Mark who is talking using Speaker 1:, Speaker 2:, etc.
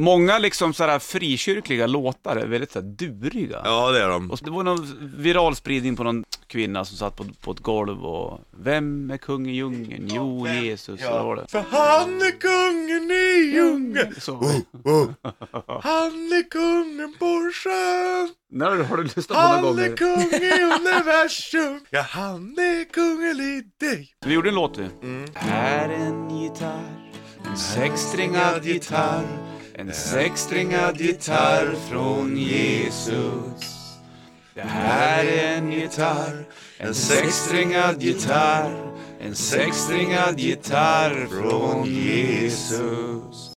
Speaker 1: Många liksom så här frikyrkliga låtar är väldigt så här duriga.
Speaker 2: Ja, det är de.
Speaker 1: Och så- det var någon viral spridning på någon kvinna som satt på, på ett golv och Vem är kung i djungeln? Jo, Jesus. Eller vad var det?
Speaker 2: För han är kungen i djungeln.
Speaker 1: Så.
Speaker 2: Oh. Han är kungen på sjön.
Speaker 1: När har du lyssnat på några
Speaker 2: Han är
Speaker 1: gånger?
Speaker 2: kung i universum. Ja, han är kungen i dig.
Speaker 1: Vi gjorde en låt vi. Här är en gitarr, en sexsträngad gitarr, en sexsträngad gitarr från Jesus. Det här är en gitarr, en sexsträngad gitarr, en sexsträngad gitarr från Jesus.